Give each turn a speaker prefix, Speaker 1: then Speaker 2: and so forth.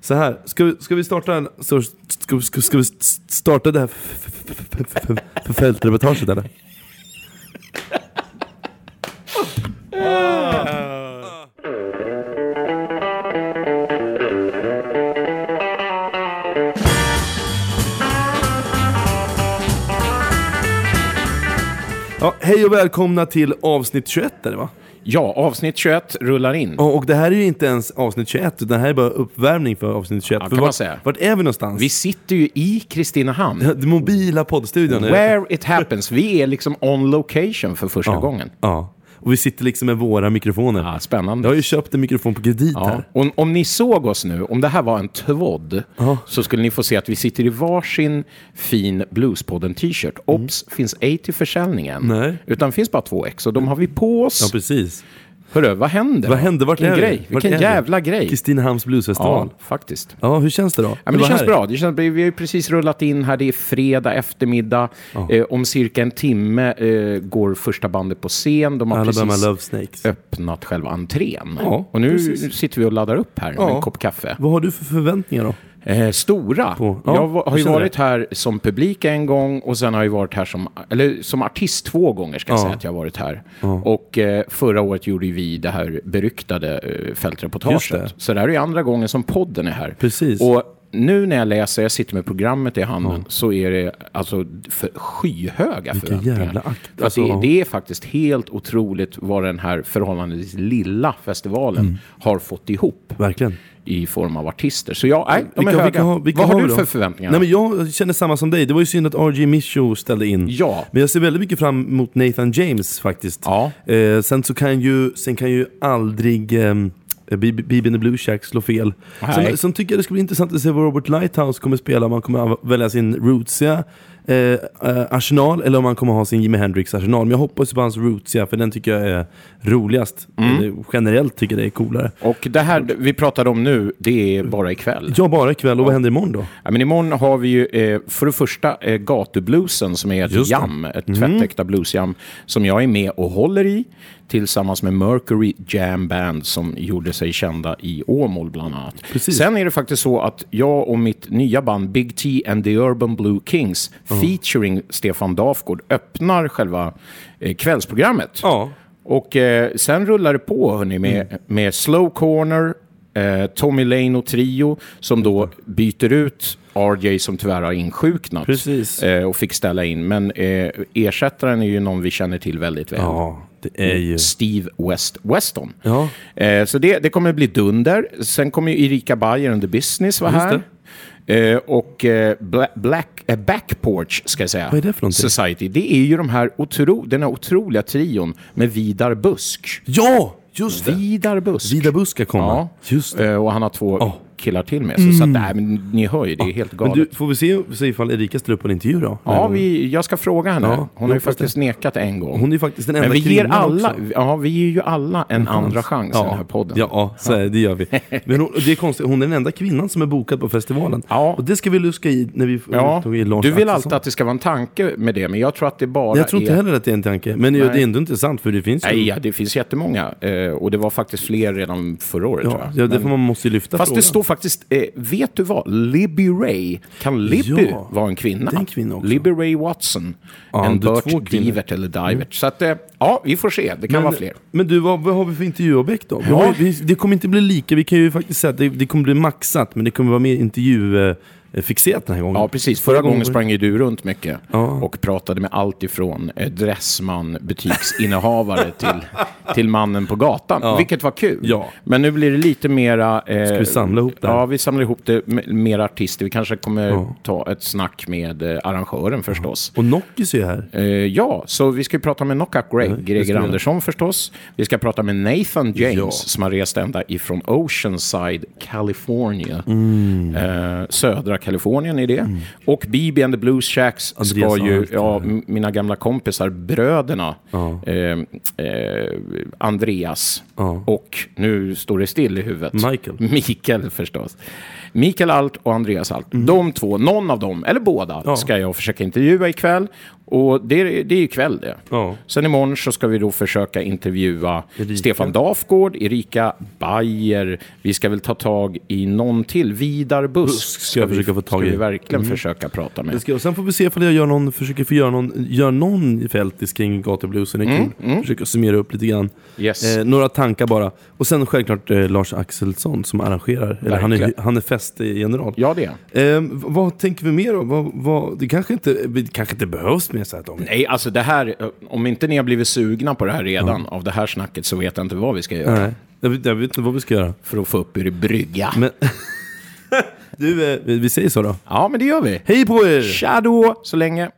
Speaker 1: Så här, ska vi, ska vi starta en... Så, ska, ska, ska vi s- starta det här f- f- f- f- f- f- fältreportaget eller? Ja, hej och välkomna till avsnitt 21 är det va?
Speaker 2: Ja, avsnitt 21 rullar in.
Speaker 1: Ja, Och det här är ju inte ens avsnitt 21, utan det här är bara uppvärmning för avsnitt 21.
Speaker 2: Ja,
Speaker 1: För
Speaker 2: kan man
Speaker 1: vart,
Speaker 2: säga.
Speaker 1: vart är vi någonstans?
Speaker 2: Vi sitter ju i Kristinehamn.
Speaker 1: Den mobila poddstudion. är-
Speaker 2: Where it happens. Vi är liksom on location för första gången.
Speaker 1: Ja. Och vi sitter liksom med våra mikrofoner.
Speaker 2: Ja,
Speaker 1: Jag har
Speaker 2: spännande.
Speaker 1: ju köpt en mikrofon på kredit
Speaker 2: Ja.
Speaker 1: här.
Speaker 2: Och om ni såg oss nu, om det här var en tvodd, så skulle ni få se att vi sitter i varsin fin Bluespodden-t-shirt. Obs! Finns ej till försäljningen.
Speaker 1: Mm. Nej.
Speaker 2: Utan finns bara två ex och de har vi på
Speaker 1: Ja,
Speaker 2: oss.
Speaker 1: precis.
Speaker 2: Hörru, vad händer?
Speaker 1: Vad hände? Vart
Speaker 2: Vilken
Speaker 1: är vi?
Speaker 2: grej.
Speaker 1: Vart
Speaker 2: Vilken
Speaker 1: är vi?
Speaker 2: jävla grej.
Speaker 1: Kristinehamns
Speaker 2: Ja,
Speaker 1: bluesfestival. Ja.
Speaker 2: faktiskt.
Speaker 1: hur känns det då?
Speaker 2: Ja, men det känns bra. Det känns, vi har ju precis rullat in här. Det är fredag eftermiddag. Eh, om cirka en timme eh, går första bandet på scen. De har
Speaker 1: Alabama
Speaker 2: precis
Speaker 1: Love Snakes.
Speaker 2: öppnat själva entrén.
Speaker 1: Ja,
Speaker 2: och nu
Speaker 1: precis.
Speaker 2: sitter vi och laddar upp här med
Speaker 1: Ja.
Speaker 2: en kopp kaffe.
Speaker 1: Vad har du för förväntningar då?
Speaker 2: Eh, stora.
Speaker 1: På- ja,
Speaker 2: jag var, har
Speaker 1: jag
Speaker 2: ju
Speaker 1: känner
Speaker 2: varit här som publik en gång och sen har jag varit här som, eller, som artist två gånger. ska jag
Speaker 1: Ja.
Speaker 2: säga att jag har varit här. Och eh, förra året gjorde ju vi det här beryktade eh,
Speaker 1: Just det.
Speaker 2: fältreportaget. Så det här är ju andra gången som podden är här.
Speaker 1: Precis.
Speaker 2: Och nu när jag läser, jag sitter med programmet i handen, så är det alltså för skyhöga förväntningar.
Speaker 1: jävla akt.
Speaker 2: För att
Speaker 1: Alltså, ja.
Speaker 2: det, det är faktiskt helt otroligt vad den här förhållandevis lilla festivalen
Speaker 1: Mm.
Speaker 2: har fått ihop
Speaker 1: Verkligen.
Speaker 2: i form av artister. Så ja, nej, de är
Speaker 1: Vilka-
Speaker 2: höga.
Speaker 1: vilka har- vilka
Speaker 2: Vad har,
Speaker 1: har vi
Speaker 2: du
Speaker 1: då?
Speaker 2: för förväntningar?
Speaker 1: Nej, men jag känner samma som dig. Det var ju synd att RG Mischo ställde in.
Speaker 2: Ja.
Speaker 1: Men jag ser väldigt mycket fram emot Nathan James faktiskt.
Speaker 2: Ja.
Speaker 1: Eh, sen så kan ju, sen kan ju aldrig ehm, B- B- Bibi and the Blue Shack slå fel.
Speaker 2: Nej.
Speaker 1: Sen, sen tycker jag det ska bli intressant att se vad Robert Lighthouse kommer spela. Om han kommer av- välja sin rootsiga eh, eh, arsenal eller om han kommer ha sin Jimi Hendrix-arsenal. Men jag hoppas på hans rootsiga för den tycker jag är roligast.
Speaker 2: Mm.
Speaker 1: Eller Generellt tycker jag det är coolare.
Speaker 2: Och det här vi pratade om nu, det är bara ikväll.
Speaker 1: Ja, bara ikväll. Och vad händer imorgon då?
Speaker 2: Ja, men imorgon har vi ju eh, för det första eh, gatubluesen som är ett
Speaker 1: Just det. Mm.
Speaker 2: jam, ett tvättäkta bluesjam som jag är med och håller i tillsammans med Mercury Jam Band som gjorde sig kända i Åmål bland annat.
Speaker 1: Precis.
Speaker 2: Sen är det faktiskt så att jag och mitt nya band Big T and the Urban Blue Kings featuring Stefan Dafgård öppnar själva eh, kvällsprogrammet.
Speaker 1: Ja.
Speaker 2: Och eh, sen rullar det på hörni, med,
Speaker 1: Mm.
Speaker 2: med Slow Corner, eh, Tommy Leno Trio som då byter ut RJ som tyvärr har insjuknat
Speaker 1: Precis.
Speaker 2: eh, och fick ställa in. Men eh, ersättaren är ju någon vi känner till väldigt väl.
Speaker 1: Ja, det är ju...
Speaker 2: Steve West Weston.
Speaker 1: Ja.
Speaker 2: Eh, så det, det kommer bli dunder. Sen kommer ju Erika Bayer and the Business vara
Speaker 1: Just
Speaker 2: här. Eh, och eh, Bla- Black, eh, Backporch ska jag säga.
Speaker 1: Vad är det för någonting?
Speaker 2: Society. Det är ju de här otro, den här otroliga trion med Vidar Busk.
Speaker 1: Ja, just det!
Speaker 2: Vidar Busk.
Speaker 1: Vida Buska kommer.
Speaker 2: Ja.
Speaker 1: Just det.
Speaker 2: Eh, och han har två killar till med sig. Så att, nej, men ni hör ju, det är helt
Speaker 1: Mm. Men
Speaker 2: galet.
Speaker 1: du, får vi se, se ifall Erika ställer upp på en interview då?
Speaker 2: ja, vi, jag ska fråga henne.
Speaker 1: Ja,
Speaker 2: Hon har ju
Speaker 1: hoppas
Speaker 2: faktiskt nekat en gång.
Speaker 1: Hon är ju faktiskt den enda
Speaker 2: men vi ger,
Speaker 1: kvinnan
Speaker 2: alla,
Speaker 1: också.
Speaker 2: ja, vi ger ju alla en andra chans i den här podden.
Speaker 1: Ja, så är, det gör vi. Men hon, det är konstigt, hon är den enda kvinnan som är bokad på festivalen.
Speaker 2: Ja.
Speaker 1: Och det ska vi luska i när vi
Speaker 2: Ja,
Speaker 1: tog i Lars
Speaker 2: du vill
Speaker 1: Axelsson.
Speaker 2: alltid att det ska vara en tanke med det, men jag tror att det bara
Speaker 1: Jag tror inte
Speaker 2: är...
Speaker 1: heller att det är en tanke. Men ju, det är ändå intressant för det finns ju...
Speaker 2: Nej, ja, det finns jättemånga. Eh, och det var faktiskt fler redan förra året, tror
Speaker 1: ja,
Speaker 2: jag.
Speaker 1: ja, det får man måste ju lyfta
Speaker 2: Fast
Speaker 1: frågan.
Speaker 2: det står faktiskt, eh, vet du vad? Libby Ray. Kan Libby
Speaker 1: Ja,
Speaker 2: vara en kvinna?
Speaker 1: det är en kvinna också.
Speaker 2: Libby Ray Watson.
Speaker 1: Ja,
Speaker 2: en
Speaker 1: det är två
Speaker 2: Burt
Speaker 1: kvinnor. Mm.
Speaker 2: Divert eller Divert. Så att, eh, ja, vi får se. Det kan vara fler.
Speaker 1: Men du, vad, vad har vi för intervjuobjekt då? Vi
Speaker 2: Ja.
Speaker 1: har, ju- vi, det kommer inte bli lika, vi kan ju faktiskt säga att det, det kommer bli maxat, men det kommer vara mer intervjufixerat den här gången.
Speaker 2: Ja, precis. Förra gången sprang ju du runt mycket
Speaker 1: Ja.
Speaker 2: och pratade med allt ifrån eh, dressman, butiksinnehavare till, till mannen på gatan, vilket var kul.
Speaker 1: Ja.
Speaker 2: Men nu blir det lite mera... Eh, Ska
Speaker 1: vi samla ihop det här?
Speaker 2: Ja, vi samlar ihop det med mer artister. Vi kanske kommer
Speaker 1: Ja.
Speaker 2: ta ett snack med eh, arrangören förstås.
Speaker 1: Och Nockis är ju här.
Speaker 2: Eh, ja, så vi ska ju prata med Knockout
Speaker 1: Ja,
Speaker 2: Greg,
Speaker 1: det ska vi
Speaker 2: Greger
Speaker 1: göra.
Speaker 2: Andersson förstås. Vi ska prata med Nathan James
Speaker 1: Ja.
Speaker 2: som har rest ända ifrån Oceanside, California.
Speaker 1: Mm.
Speaker 2: Eh, södra Kalifornien är det. Och BB and the Blues Shacks ska
Speaker 1: Andreas
Speaker 2: ju,
Speaker 1: Alter.
Speaker 2: ja, m- mina gamla kompisar, bröderna, eh, eh, Andreas
Speaker 1: Ja.
Speaker 2: och, nu står det still i huvudet,
Speaker 1: Michael.
Speaker 2: Mikael förstås.
Speaker 1: Mm.
Speaker 2: Mikael Alt och Andreas Alt. De två, någon av dem, eller båda, ska jag försöka intervjua ikväll. Och det, det är ju kväll det.
Speaker 1: Ja.
Speaker 2: Sen imorgon så ska vi då försöka intervjua
Speaker 1: Erika.
Speaker 2: Stefan Dafgård, Erika Bayer. Vi ska väl ta tag i någon till. Vidar Busk
Speaker 1: ska jag
Speaker 2: vi-
Speaker 1: försöka få tag
Speaker 2: ska
Speaker 1: i. Mm.
Speaker 2: vi verkligen försöka prata med.
Speaker 1: Det ska, jag- sen får vi se om jag gör någon, försöker få göra någon, gör någon fältis kring gatubluesen. Det är kul. Försöker summera upp lite grann.
Speaker 2: Mm, Yes.
Speaker 1: Eh, några tankar bara. Och sen självklart eh, Lars Axelsson som arrangerar. Eller han, är,
Speaker 2: Verkligen.
Speaker 1: han är festgeneral.
Speaker 2: Ja, det.
Speaker 1: Eh, v- vad tänker vi mer då? Vad, vad, det kanske inte, det kanske inte behövs mer så här Tommy.
Speaker 2: Nej, alltså det här, eh, om inte ni har blivit sugna på det här redan, av det här snacket, så vet jag inte vad vi ska göra
Speaker 1: Nej. Jag vet, jag vet inte vad vi ska göra.
Speaker 2: för att få upp er i brygga.
Speaker 1: Men, du, eh, vi vi säger så då.
Speaker 2: Ja, men det gör vi.
Speaker 1: Hej på er!
Speaker 2: Tja då, så länge.